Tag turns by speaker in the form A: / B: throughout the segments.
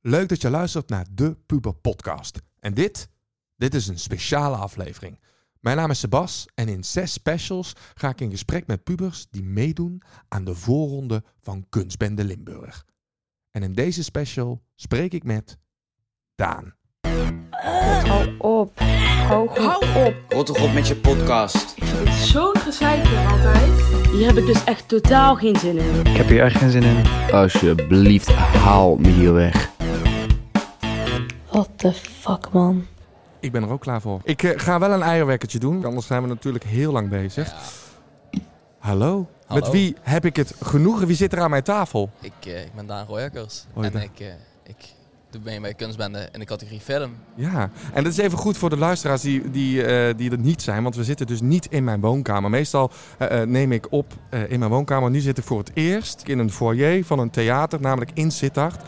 A: Leuk dat je luistert naar de Puber Podcast. En dit, dit is een speciale aflevering. Mijn naam is Sebas en in zes specials ga ik in gesprek met pubers die meedoen aan de voorronde van Kunstbende Limburg. En in deze special spreek ik met Daan.
B: Hou op. Hou goed op.
C: Rot toch op met je podcast.
D: Het is zo'n gezeik hier altijd.
B: Hier heb ik dus echt totaal geen zin in.
E: Ik heb hier echt geen zin in.
C: Alsjeblieft, haal me hier weg.
B: What the fuck, man.
A: Ik ben er ook klaar voor. Ik eh, ga wel een eierwekkertje doen, anders zijn we natuurlijk heel lang bezig. Hallo?
F: Hallo.
A: Met wie heb ik het genoegen? Wie zit er aan mijn tafel?
F: Ik, eh, ik ben Daan Royakkers.
A: Hoi,
F: en
A: Daan.
F: ik, eh, ik doe mee bij kunstbende in de categorie film.
A: Ja, en dat is even goed voor de luisteraars die, die, eh, die er niet zijn, want we zitten dus niet in mijn woonkamer. Meestal eh, eh, neem ik op eh, in mijn woonkamer. Nu zit ik voor het eerst in een foyer van een theater, namelijk in Sittard,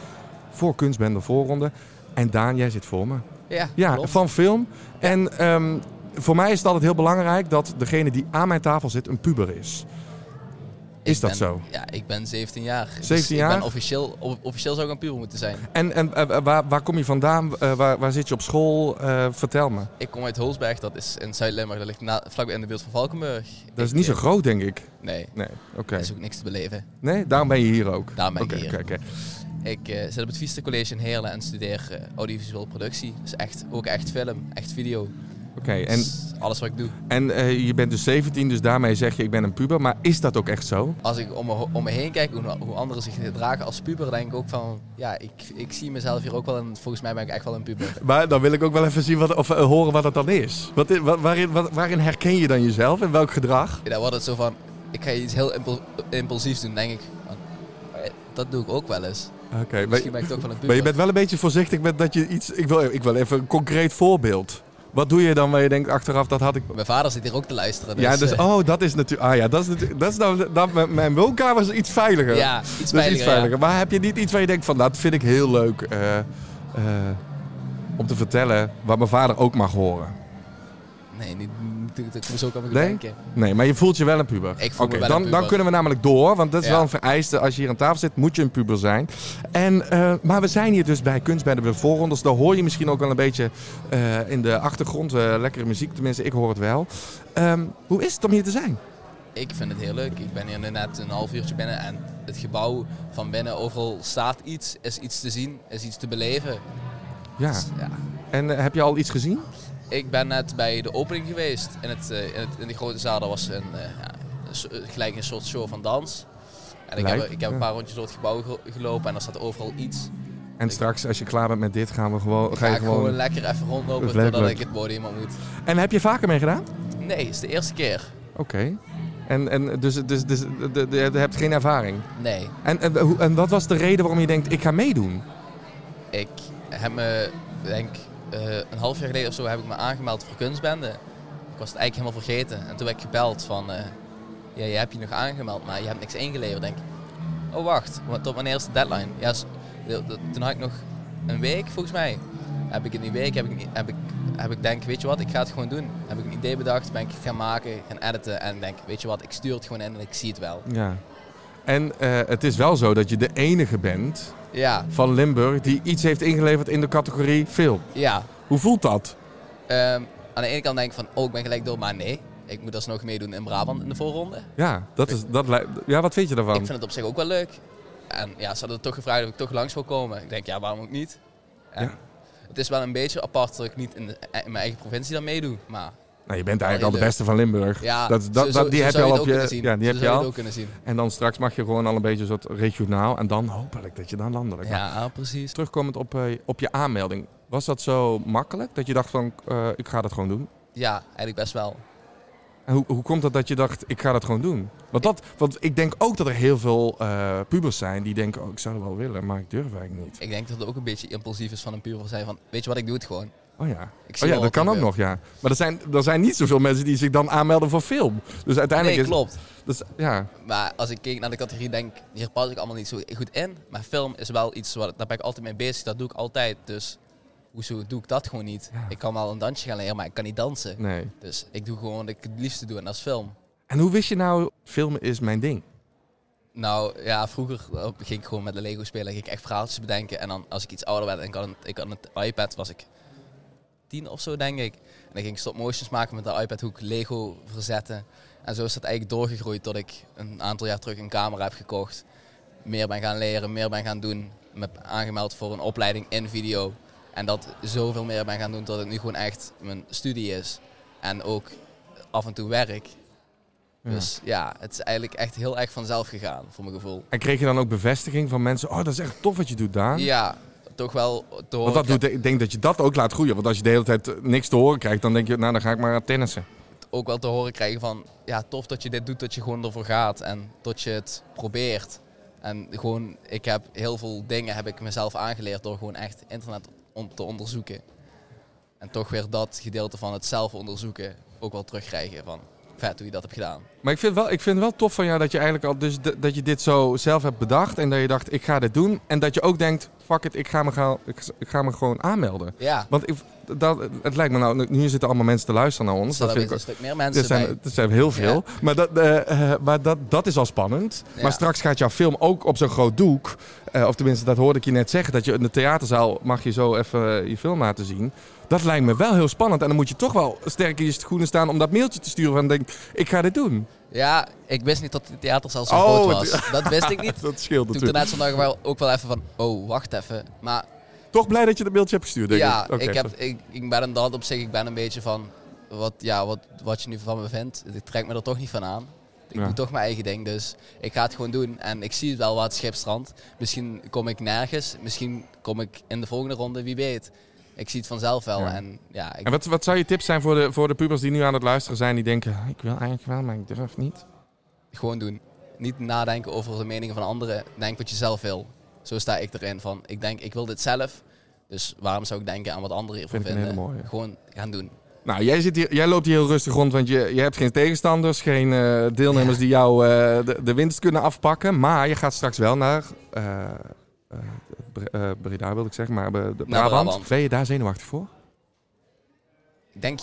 A: voor Kunstbende Voorronde. En Daan, jij zit voor me.
F: Ja,
A: Ja,
F: klopt.
A: van film. En ehm, voor mij is het altijd heel belangrijk dat degene die aan mijn tafel zit een puber is.
F: Ik
A: Is dat
F: ben-
A: zo?
F: Ja, ik ben 17 jaar. Dus
A: 17
F: Ik
A: jaar?
F: ben officieel, o- officieel zou ik een puber moeten zijn.
A: En, en eh, waar, waar kom je vandaan? Eh, waar, waar zit je op school? Eh, vertel me.
F: Ik kom uit Holsberg, dat is in Zuid-Limburg. Dat ligt na, vlakbij in de buurt van Valkenburg.
A: Dat is
F: Ik,
A: niet zo
F: eh,
A: groot, denk ik.
F: Nee,
A: Nee, oké.
F: dat is ook niks te beleven.
A: Nee, daarom ben je hier ook.
F: Daarom ben ik
A: Oké,
F: hier.
A: oké, oké.
F: Ik eh, zit op het Vista College in Heerlen en studeer eh, audiovisueel productie. Dus echt, ook echt film, echt video.
A: Oké, en,
F: Dus alles wat ik doe.
A: en eh, je bent dus 17, dus daarmee zeg je ik ben een puber. Maar is dat ook echt zo?
F: als ik om me, ho- om me heen kijk, hoe, hoe anderen zich gedragen als puber, denk ik ook van, ja, ik, ik zie mezelf hier ook wel en volgens mij ben ik echt wel een puber.
A: Maar dan wil ik ook wel even zien wat, of eh, horen wat dat dan is. Wat, i- wa- waarin, wat- waarin herken je dan jezelf en welk gedrag?
F: Ja, Dan wordt het zo van, ik ga iets heel impul- impulsiefs doen, denk ik. Van, eh, Dat doe ik ook wel eens.
A: Oké, maar,
F: Misschien ben ik toch wel een puber.
A: maar je bent wel een beetje voorzichtig met dat je iets... Ik wil, ik wil even een concreet voorbeeld. Wat doe je dan waar je denkt achteraf dat had ik...
F: Mijn vader zit hier ook te luisteren. Dus,
A: ja, dus
F: eh,
A: oh, dat is natuurlijk... Ah ja, dat is, natuurlijk- dat is dan... Dat, mijn- mijn woonkamer is iets veiliger.
F: ja, iets
A: Dat is
F: veiliger.
A: iets veiliger. Maar heb je niet iets waar je denkt van, "Nou, dat vind ik heel leuk eh, eh, om te vertellen, wat mijn vader ook mag horen?
F: ja. Nee, niet, niet, niet, niet zo kan ik
A: Nee?
F: denken.
A: Nee, maar je voelt je wel een puber.
F: Ik voel me
A: Oké,
F: wel
A: dan,
F: een
A: dan
F: puber.
A: kunnen we namelijk door, want dat is
F: Ja.
A: wel een vereiste. Als je hier aan tafel zit, moet je een puber zijn. En, eh, maar we zijn hier dus bij Kunst bij de Voorronders. Daar hoor je misschien ook wel een beetje eh, in de achtergrond eh, lekkere muziek. Tenminste, ik hoor het wel. Ehm, hoe is het om hier te zijn?
F: Ik vind het heel leuk. Ik ben hier nu net een half uurtje binnen en het gebouw van binnen, overal staat iets, is iets te zien, is iets te beleven.
A: Ja.
F: Dus, ja,
A: En eh, heb je al iets gezien?
F: Ik ben net bij de opening geweest. In, het, eh, in, het, in die grote zaal daar was een, eh, ja, een so- gelijk een soort show van dans. En ik
A: Lijp,
F: heb, ik heb
A: ja.
F: een paar rondjes door het gebouw gelo- gelopen en er staat overal iets.
A: En straks, als je klaar bent met dit, gaan we gewoon... Ga
F: Ga
A: je
F: ik gewoon,
A: gewoon...
F: lekker even rondlopen
A: Dat is leuk,
F: totdat
A: leuk.
F: ik het podium op moet.
A: En heb je vaker mee gedaan?
F: Nee, het is de eerste keer.
A: Oké. En, en dus, dus, dus de- de- de- je hebt geen ervaring.
F: Nee,
A: En, en, hoe- en wat was de reden waarom je denkt, ik ga meedoen?
F: ik heb me, denk eh, een half jaar geleden of zo, heb ik me aangemeld voor kunstbende. Ik was het eigenlijk helemaal vergeten. En toen werd ik gebeld van, eh, ja, je hebt je nog aangemeld, maar je hebt niks ingeleverd. Denk ik, oh wacht, wa- tot wanneer is de deadline? Ja, s- de- de- toen had ik nog een week volgens mij. Heb ik in die week, heb ik, niet- heb ik, heb ik denk, weet je wat, ik ga het gewoon doen. Heb ik een idee bedacht, ben ik het gaan maken, gaan editen. En ik denk, weet je wat, ik stuur het gewoon in en ik zie het wel.
A: Ja. En eh, het is wel zo dat je de enige bent
F: Ja,
A: van Limburg die iets heeft ingeleverd in de categorie film.
F: ja.
A: Hoe voelt dat?
F: Ehm, aan de ene kant denk ik van, oh, ik ben gelijk door, maar nee. Ik moet alsnog meedoen in Brabant in de voorronde.
A: Ja, dat is, dat lijkt- ja wat vind je
F: Ik
A: daarvan?
F: vind het op zich ook wel leuk. En ja, ze hadden toch gevraagd of ik toch langs wil komen. Ik denk, ja, waarom ook niet? En
A: Ja.
F: Het is wel een beetje apart dat ik niet in, de- eh, in mijn eigen provincie dan meedoe. Maar
A: Nou, je bent eigenlijk al de
F: Heel
A: beste van Limburg.
F: ja,
A: dat, dat,
F: zo-
A: dat-
F: zo-
A: die
F: zo
A: heb je
F: zou
A: al op
F: het ook
A: je.
F: kunnen zien.
A: Ja, die
F: Zo
A: heb
F: zou
A: je
F: het
A: al.
F: ook kunnen zien.
A: En dan straks mag je gewoon al een beetje zo regionaal. En dan hopelijk dat je dan landelijk. Maar
F: Ja, precies.
A: terugkomend op, eh, op je aanmelding. Was dat zo makkelijk dat je dacht van eh, ik ga dat gewoon doen?
F: Ja, eigenlijk best wel.
A: En hoe, hoe komt het dat je dacht, ik ga dat gewoon doen? Want, dat, want ik denk ook dat er heel veel eh, pubers zijn die denken, oh, ik zou het wel willen, maar ik durf eigenlijk niet.
F: Ik denk dat het ook een beetje impulsief is van een puur zijn van, weet je wat, ik doe het gewoon.
A: Oh ja, oh,
F: Ik zie
A: ja
F: wel
A: dat
F: wat
A: kan ook nog,
F: gebeurt.
A: ja. Maar er zijn, er zijn niet zoveel mensen die zich dan aanmelden voor film. Dus uiteindelijk
F: Nee,
A: is...
F: klopt.
A: Dus, ja,
F: Maar als ik keek naar de categorie, denk ik, hier pas ik allemaal niet zo goed in. Maar film is wel iets, waar, daar ben ik altijd mee bezig, dat doe ik altijd. Dus hoezo doe ik dat gewoon niet?
A: Ja.
F: Ik kan wel een dansje gaan leren, maar ik kan niet dansen.
A: nee.
F: Dus ik doe gewoon wat ik het liefste doe en dat is film.
A: En hoe wist je nou, film is mijn ding?
F: Nou ja, vroeger eh, ging ik gewoon met de Lego spelen. Ging ik echt verhaaltjes bedenken. En dan als ik iets ouder werd en ik had een, ik had een iPad, was ik tien of zo denk ik. En dan ging ik stop motions maken met de iPad hoe ik Lego verzetten. En zo is dat eigenlijk doorgegroeid tot ik een aantal jaar terug een camera heb gekocht. Meer ben gaan leren, meer ben gaan doen. Me heb aangemeld voor een opleiding in video. En dat zoveel meer ben gaan doen dat het nu gewoon echt mijn studie is. En ook af en toe werk.
A: Ja.
F: Dus ja, het is eigenlijk echt heel erg vanzelf gegaan, voor mijn gevoel.
A: En kreeg je dan ook bevestiging van mensen, oh, dat is echt tof wat je doet, Daan?
F: Ja, toch wel door.
A: Want dat doet, ik denk dat je dat ook laat groeien. Want als je de hele tijd eh, niks te horen krijgt, dan denk je, nou, dan ga ik maar aan tennissen.
F: ook wel te horen krijgen van ja, tof dat je dit doet, dat je gewoon ervoor gaat en dat je het probeert. En gewoon, ik heb heel veel dingen heb ik mezelf aangeleerd door gewoon echt internet om te onderzoeken. En toch weer dat gedeelte van het zelf onderzoeken ook wel terugkrijgen van vet hoe je dat hebt gedaan.
A: Maar ik vind, wel, ik vind wel tof van jou dat je eigenlijk al, dus d- dat je dit zo zelf hebt bedacht. En dat je dacht, ik ga dit doen. En dat je ook denkt, fuck it, ik ga me, gaan, ik, ik ga me gewoon aanmelden.
F: Ja,
A: Want ik, dat, het lijkt me nou, nu zitten allemaal mensen te luisteren naar ons.
F: er zijn
A: vind ik
F: dus een stuk meer
A: Er
F: mensen
A: zijn,
F: bij.
A: er zijn heel veel. Maar, dat, eh, eh, maar dat, dat is al spannend.
F: Ja.
A: Maar straks gaat jouw film ook op zo'n groot doek. eh, of tenminste, dat hoorde ik je net zeggen. Dat je in de theaterzaal mag je zo even eh, je film laten zien. Dat lijkt me wel heel spannend. En dan moet je toch wel sterk in je schoenen staan om dat mailtje te sturen. Van denk, ik ga dit doen.
F: Ja, ik wist niet dat de theaterzaal zo
A: Oh,
F: groot was. Dat wist ik niet.
A: Dat scheelt
F: Toen ik
A: natuurlijk.
F: daarna zondag wel, ook wel even van, oh, wacht even. Maar
A: Toch blij dat je dat mailtje hebt gestuurd, denk
F: ja,
A: ik. Oké,
F: ik, heb,
A: zo.
F: ik, ik ben hem dat op zich, ik ben een beetje van wat, ja, wat, wat je nu van me vindt. Ik trek me er toch niet van aan. Ik
A: Ja.
F: doe toch mijn eigen ding, dus ik ga het gewoon doen. En ik zie wel wat schip strandt. Misschien kom ik nergens, misschien kom ik in de volgende ronde, wie weet. Ik zie het vanzelf wel.
A: Ja.
F: En, ja, ik,
A: En wat, wat zou je tips zijn voor de, voor de pubers die nu aan het luisteren zijn? Die denken, ik wil eigenlijk wel, maar ik durf niet.
F: Gewoon doen. Niet nadenken over de meningen van anderen. Denk wat je zelf wil. Zo sta ik erin van, ik denk, ik wil dit zelf. Dus waarom zou ik denken aan wat anderen hiervan
A: Vind ik een
F: vinden?
A: hele mooie.
F: Gewoon gaan doen.
A: Nou, jij, zit hier, jij loopt hier heel rustig rond, want je, je hebt geen tegenstanders, geen eh, deelnemers die jou eh, de, de winst kunnen afpakken. Maar je gaat straks wel naar eh, eh, Bre- eh, Breda, wil ik zeggen, maar eh, de Brabant.
F: Brabant.
A: Ben je daar zenuwachtig voor?
F: Ik denk,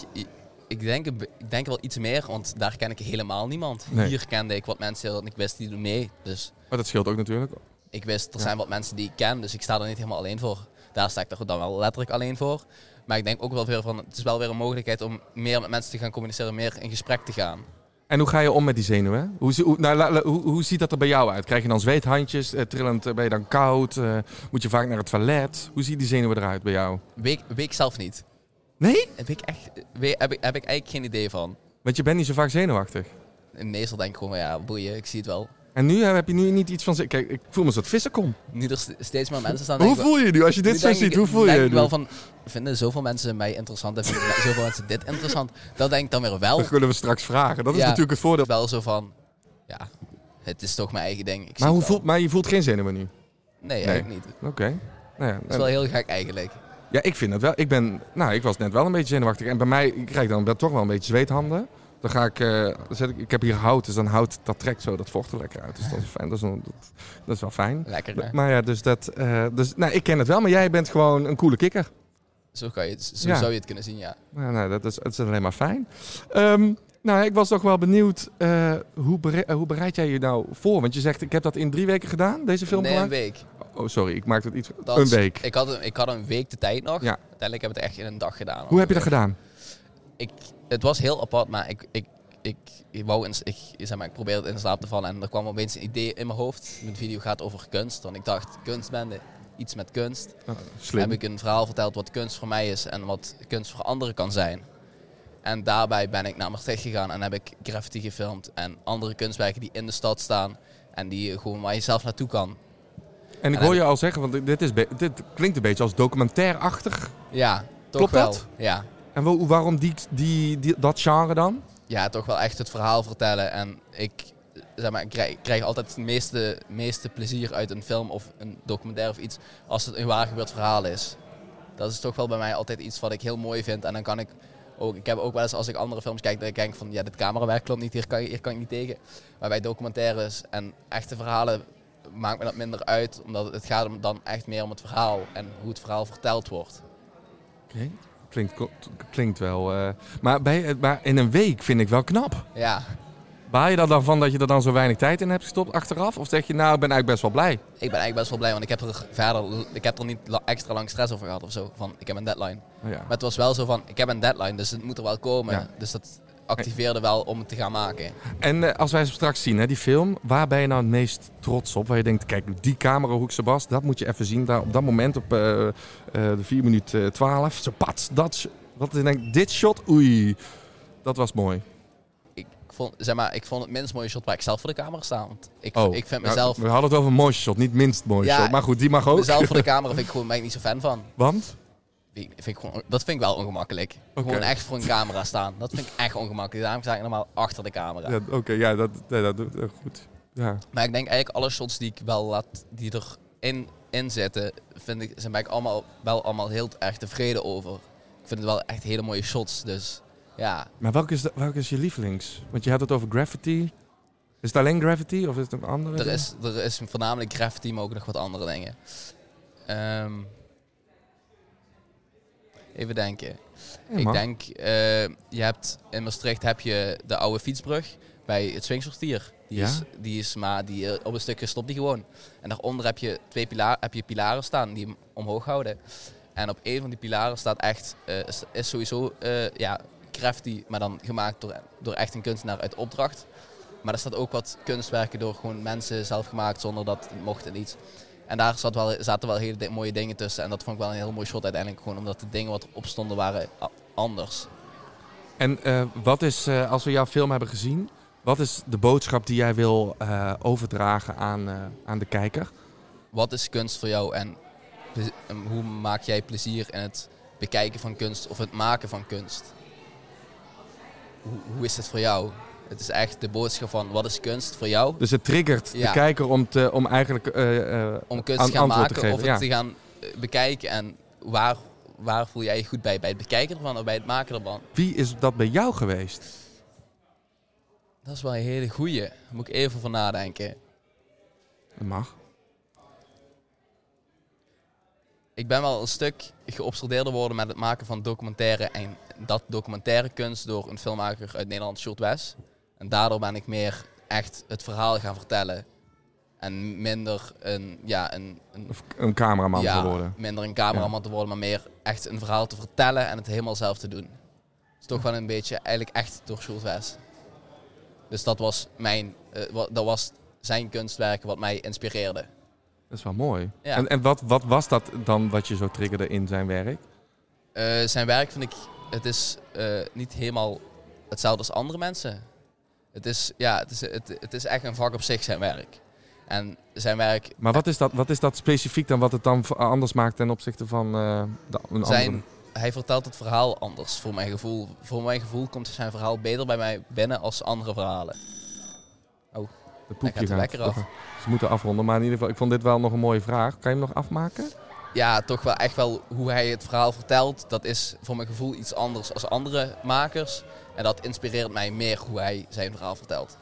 F: ik, denk, een be- ik denk wel iets meer, want daar ken ik helemaal niemand.
A: Nee.
F: Hier kende ik wat mensen en ik wist die doen mee. Dus
A: Maar dat scheelt ook natuurlijk.
F: ik wist, er
A: Ja.
F: zijn wat mensen die ik ken, dus ik sta er niet helemaal alleen voor. Daar sta ik er dan wel letterlijk alleen voor. Maar ik denk ook wel weer van, het is wel weer een mogelijkheid om meer met mensen te gaan communiceren, meer in gesprek te gaan.
A: En hoe ga je om met die zenuwen? Hoe, zie- hoe, nou, la- la- hoe, hoe ziet dat er bij jou uit? Krijg je dan zweethandjes, eh, trillend, eh, ben je dan koud? eh, moet je vaak naar het toilet? Hoe zien die zenuwen eruit bij jou?
F: Weet, weet ik zelf niet.
A: Nee?
F: Heb ik, echt, weet, heb, ik, heb ik eigenlijk geen idee van.
A: Want je bent niet zo vaak zenuwachtig.
F: En meestal denk ik gewoon, ja, boeien, ik zie het wel.
A: En nu eh, heb je nu niet iets van... ze- Kijk, ik voel me een soort vissenkom.
F: Nu er st- steeds meer mensen staan...
A: Hoe
F: denk ik wel-
A: voel je je nu? Als je dit
F: Nu
A: zo
F: denk
A: ziet,
F: ik-
A: hoe voel je
F: denk
A: je
F: ik
A: nu?
F: wel van, vinden zoveel mensen mij interessant en vinden zoveel mensen dit interessant? Dat denk ik dan weer wel.
A: Dat kunnen we straks vragen. Dat is
F: oh. Ja.
A: natuurlijk het voordeel.
F: Wel zo van, ja, het is toch mijn eigen ding. Ik zie
A: Maar, hoe
F: het wel.
A: voelt, maar je voelt geen zenuwen nu?
F: Nee, eigenlijk niet. Het
A: Oké. Nou ja, eh,
F: is wel heel gek eigenlijk.
A: ja, ik vind dat wel. Ik, ben, nou, ik was net wel een beetje zenuwachtig. En bij mij ik krijg dan wel toch wel een beetje zweethanden. Dan ga ik, eh, zet ik, ik heb hier hout, dus dan hout, dat trekt zo dat vocht er lekker uit. Dus dat is fijn, dat is, een- dat, dat is wel fijn.
F: Lekker, hè?
A: Maar ja, dus dat, eh, dus, nou, ik ken het wel, maar jij bent gewoon een coole kikker.
F: Zo, kan je het, zo
A: Ja.
F: zou je het kunnen zien, ja.
A: Nou, nou, dat, is, dat is alleen maar fijn. Ehm, nou, ik was toch wel benieuwd, eh, hoe, bere- eh, hoe bereid jij je nou voor? Want je zegt, ik heb dat in drie weken gedaan, deze film
F: nee, een
A: gemaakt.
F: week.
A: Oh, sorry, ik maak het iets...
F: Dat
A: een
F: is-
A: week.
F: Ik had, een- ik had een week de tijd nog.
A: Ja.
F: Uiteindelijk heb ik het echt in een dag gedaan.
A: Hoe heb je dat gedaan?
F: ik, het was heel apart, maar ik, ik, ik, ik wou eens, ik, zeg maar, ik probeerde in slaap te vallen en er kwam opeens een idee in mijn hoofd. Mijn video gaat over kunst, want ik dacht, kunstbende, iets met kunst.
A: Nou, Slim.
F: Heb ik een verhaal verteld wat kunst voor mij is en wat kunst voor anderen kan zijn. En daarbij ben ik naar Maastricht gegaan en heb ik graffiti gefilmd en andere kunstwerken die in de stad staan en die je gewoon waar je zelf naartoe kan.
A: en ik
F: en
A: hoor
F: heb
A: je al zeggen, want dit, is be- dit klinkt een beetje als documentairachtig.
F: Ja, toch
A: Klopt
F: wel.
A: dat?
F: Ja.
A: En wo- waarom die, die, die- dat genre dan?
F: ja, toch wel echt het verhaal vertellen. En ik, zeg maar, ik krijg, ik krijg altijd het meeste, meeste plezier uit een film of een documentaire of iets als het een waar gebeurd verhaal is. Dat is toch wel bij mij altijd iets wat ik heel mooi vind. En dan kan ik ook, ik heb ook wel eens als ik andere films kijk, dat ik denk van ja, dit camerawerk klopt niet, hier kan, je- hier kan ik niet tegen. Maar bij documentaires en echte verhalen maakt me dat minder uit, omdat het gaat om- dan echt meer om het verhaal en hoe het verhaal verteld wordt.
A: Klinkt, klinkt wel. eh, maar, bij, maar in een week vind ik wel knap.
F: Ja,
A: Baal je dat dan van dat je er dan zo weinig tijd in hebt gestopt achteraf? Of zeg je, nou, ik ben eigenlijk best wel blij?
F: Ik ben eigenlijk best wel blij, want ik heb er verder, ik heb er niet la- extra lang stress over gehad of zo. Van, ik heb een deadline.
A: Ja.
F: Maar het was wel zo van, ik heb een deadline, dus het moet er wel komen.
A: Ja.
F: Dus dat activeerde wel om het te gaan maken.
A: En eh, als wij ze straks zien, hè, die film, waar ben je nou het meest trots op? Waar je denkt, kijk, die camerahoek, Sebas, dat moet je even zien. Daar, op dat moment, op eh, eh, de 4 minuut eh, 12, zo pats, dat, sh- wat ik denk, dit shot, oei, dat was mooi.
F: Ik vond, zeg maar, ik vond het minst mooie shot waar ik zelf voor de camera sta. Want ik, ik vind
A: Oh. ja,
F: mezelf,
A: we hadden het over een mooi shot, niet minst mooi
F: Ja,
A: shot. Maar goed, die mag ook.
F: mezelf voor de camera vind ik gewoon, ben ik niet zo fan van.
A: Want?
F: Vind ik- vind ik gewoon, dat vind ik wel ongemakkelijk. Gewoon echt voor een camera staan. Dat vind ik echt ongemakkelijk. Daarom sta ik normaal achter de camera.
A: Ja, Oké, ja, dat, ja, dat doet eh, goed. Ja.
F: Maar ik denk eigenlijk alle shots die ik wel laat, die erin in zitten, vind ik, zijn ben ik allemaal, wel allemaal heel erg tevreden over. Ik vind het wel echt hele mooie shots. Dus ja,
A: Maar welke is, de- welke is je lievelings? Want je had het over Gravity. Is het alleen Gravity of is het een andere?
F: er is, er is voornamelijk graffiti, maar ook nog wat andere dingen. Ehm, even denken.
A: Ja,
F: ik
A: man.
F: denk, eh, je hebt in Maastricht heb je de oude fietsbrug bij het Swingsortier. Die,
A: Ja?
F: is, die is maar die, eh, op een stukje stopt die gewoon. En daaronder heb je twee pila heb je pilaren staan die hem omhoog houden. En op een van die pilaren staat echt, eh, is, is sowieso eh ja, crafty, maar dan gemaakt door, door echt een kunstenaar uit opdracht. Maar er staat ook wat kunstwerken door gewoon mensen zelf gemaakt zonder dat het mocht en iets. En daar zat wel, zaten wel hele di- mooie dingen tussen. En dat vond ik wel een heel mooi shot uiteindelijk. Gewoon omdat de dingen wat erop stonden waren a- anders.
A: En eh, wat is, eh, als we jouw film hebben gezien, wat is de boodschap die jij wil eh, overdragen aan, eh, aan de kijker?
F: Wat is kunst voor jou en ple- en hoe maak jij plezier in het bekijken van kunst of het maken van kunst? Hoe, hoe is het voor jou? Het is echt de boodschap van wat is kunst voor jou?
A: Dus het triggert de
F: Ja.
A: kijker om, te, om eigenlijk eh, eh,
F: Om kunst
A: Aan-
F: te gaan
A: antwoord te
F: maken
A: geven,
F: of het
A: ja.
F: te gaan eh, bekijken en waar, waar voel jij je goed bij? Bij het bekijken ervan of bij het maken ervan?
A: wie is dat bij jou geweest?
F: Dat is wel een hele goeie. Daar moet ik even voor nadenken.
A: Dat mag.
F: Ik ben wel een stuk geobsedeerder geworden met het maken van documentaire. En dat documentaire kunst door een filmmaker uit Nederland, Sjoerd Wes. En daardoor ben ik meer echt het verhaal gaan vertellen. En minder een, ja, een, een,
A: Of een cameraman
F: ja,
A: geworden.
F: minder een cameraman te worden, maar meer echt een verhaal te vertellen en het helemaal zelf te doen. Het is toch wel een beetje eigenlijk echt door Sjoerd Wes. Dus dat was, mijn, eh, wa- dat was zijn kunstwerk wat mij inspireerde.
A: Dat is wel mooi.
F: Ja.
A: En, en wat, wat was dat dan wat je zo triggerde in zijn werk?
F: Eh, zijn werk vind ik, het is eh, niet helemaal hetzelfde als andere mensen. Het is, ja, het, is, het, het is echt een vak op zich, zijn werk. En zijn werk,
A: Maar wat is dat, wat is dat specifiek dan wat het dan v- anders maakt ten opzichte van eh, de, een
F: zijn,
A: andere?
F: hij vertelt het verhaal anders, voor mijn gevoel. Voor mijn gevoel komt zijn verhaal beter bij mij binnen als andere verhalen.
A: De
F: Hij gaat
A: poepje
F: de
A: gaan.
F: wekker af.
A: Ze moeten afronden, maar in ieder geval, ik vond dit wel nog een mooie vraag. Kan je hem nog afmaken?
F: Ja, toch wel echt wel hoe hij het verhaal vertelt. Dat is voor mijn gevoel iets anders als andere makers. En dat inspireert mij meer hoe hij zijn verhaal vertelt.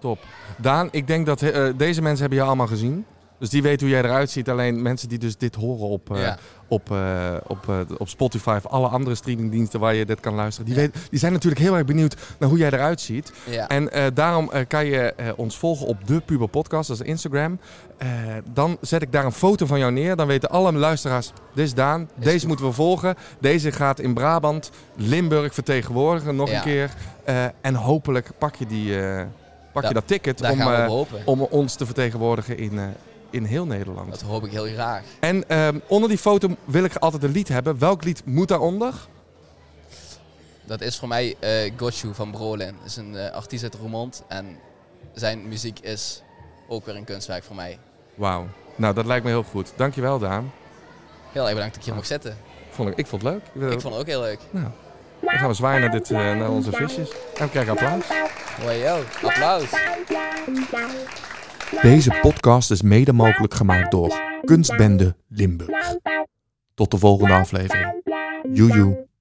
A: Top. Daan, ik denk dat eh, deze mensen hebben je allemaal gezien. Dus die weten hoe jij eruit ziet. Alleen mensen die dus dit horen op, eh,
F: Ja.
A: op, eh, op, eh, op Spotify of alle andere streamingdiensten waar je dit kan luisteren. Die, weten- die zijn natuurlijk heel erg benieuwd naar hoe jij eruit ziet.
F: Ja.
A: En eh, daarom eh, kan je eh, ons volgen op de Puber Podcast, dat is Instagram. Eh, dan zet ik daar een foto van jou neer. Dan weten alle luisteraars, dit is Daan, deze
F: goed.
A: moeten we volgen. Deze gaat in Brabant, Limburg vertegenwoordigen nog
F: Ja.
A: een keer. Eh, en hopelijk pak je, die, eh, pak je
F: Da-
A: dat ticket
F: Daar
A: om,
F: gaan we
A: eh,
F: op hopen.
A: om ons te vertegenwoordigen in, eh, in heel Nederland.
F: Dat hoop ik heel graag.
A: En ehm, onder die foto wil ik altijd een lied hebben. Welk lied moet daaronder?
F: Dat is voor mij eh Gotchu van Brolin. Dat is een eh, artiest uit Roermond. En zijn muziek is ook weer een kunstwerk voor mij.
A: Wauw. Nou, dat lijkt me heel goed. Dankjewel, Daan.
F: Heel erg bedankt dat ik hier mocht zitten.
A: Vond ik, ik vond het leuk.
F: Ik vond het ook heel leuk.
A: Dan gaan we zwaaien naar, dit, eh, naar onze visjes. En we krijgen applaus.
F: Hoi yo, applaus.
A: Deze podcast is mede mogelijk gemaakt door Kunstbende Limburg. Tot de volgende aflevering. Joejoe.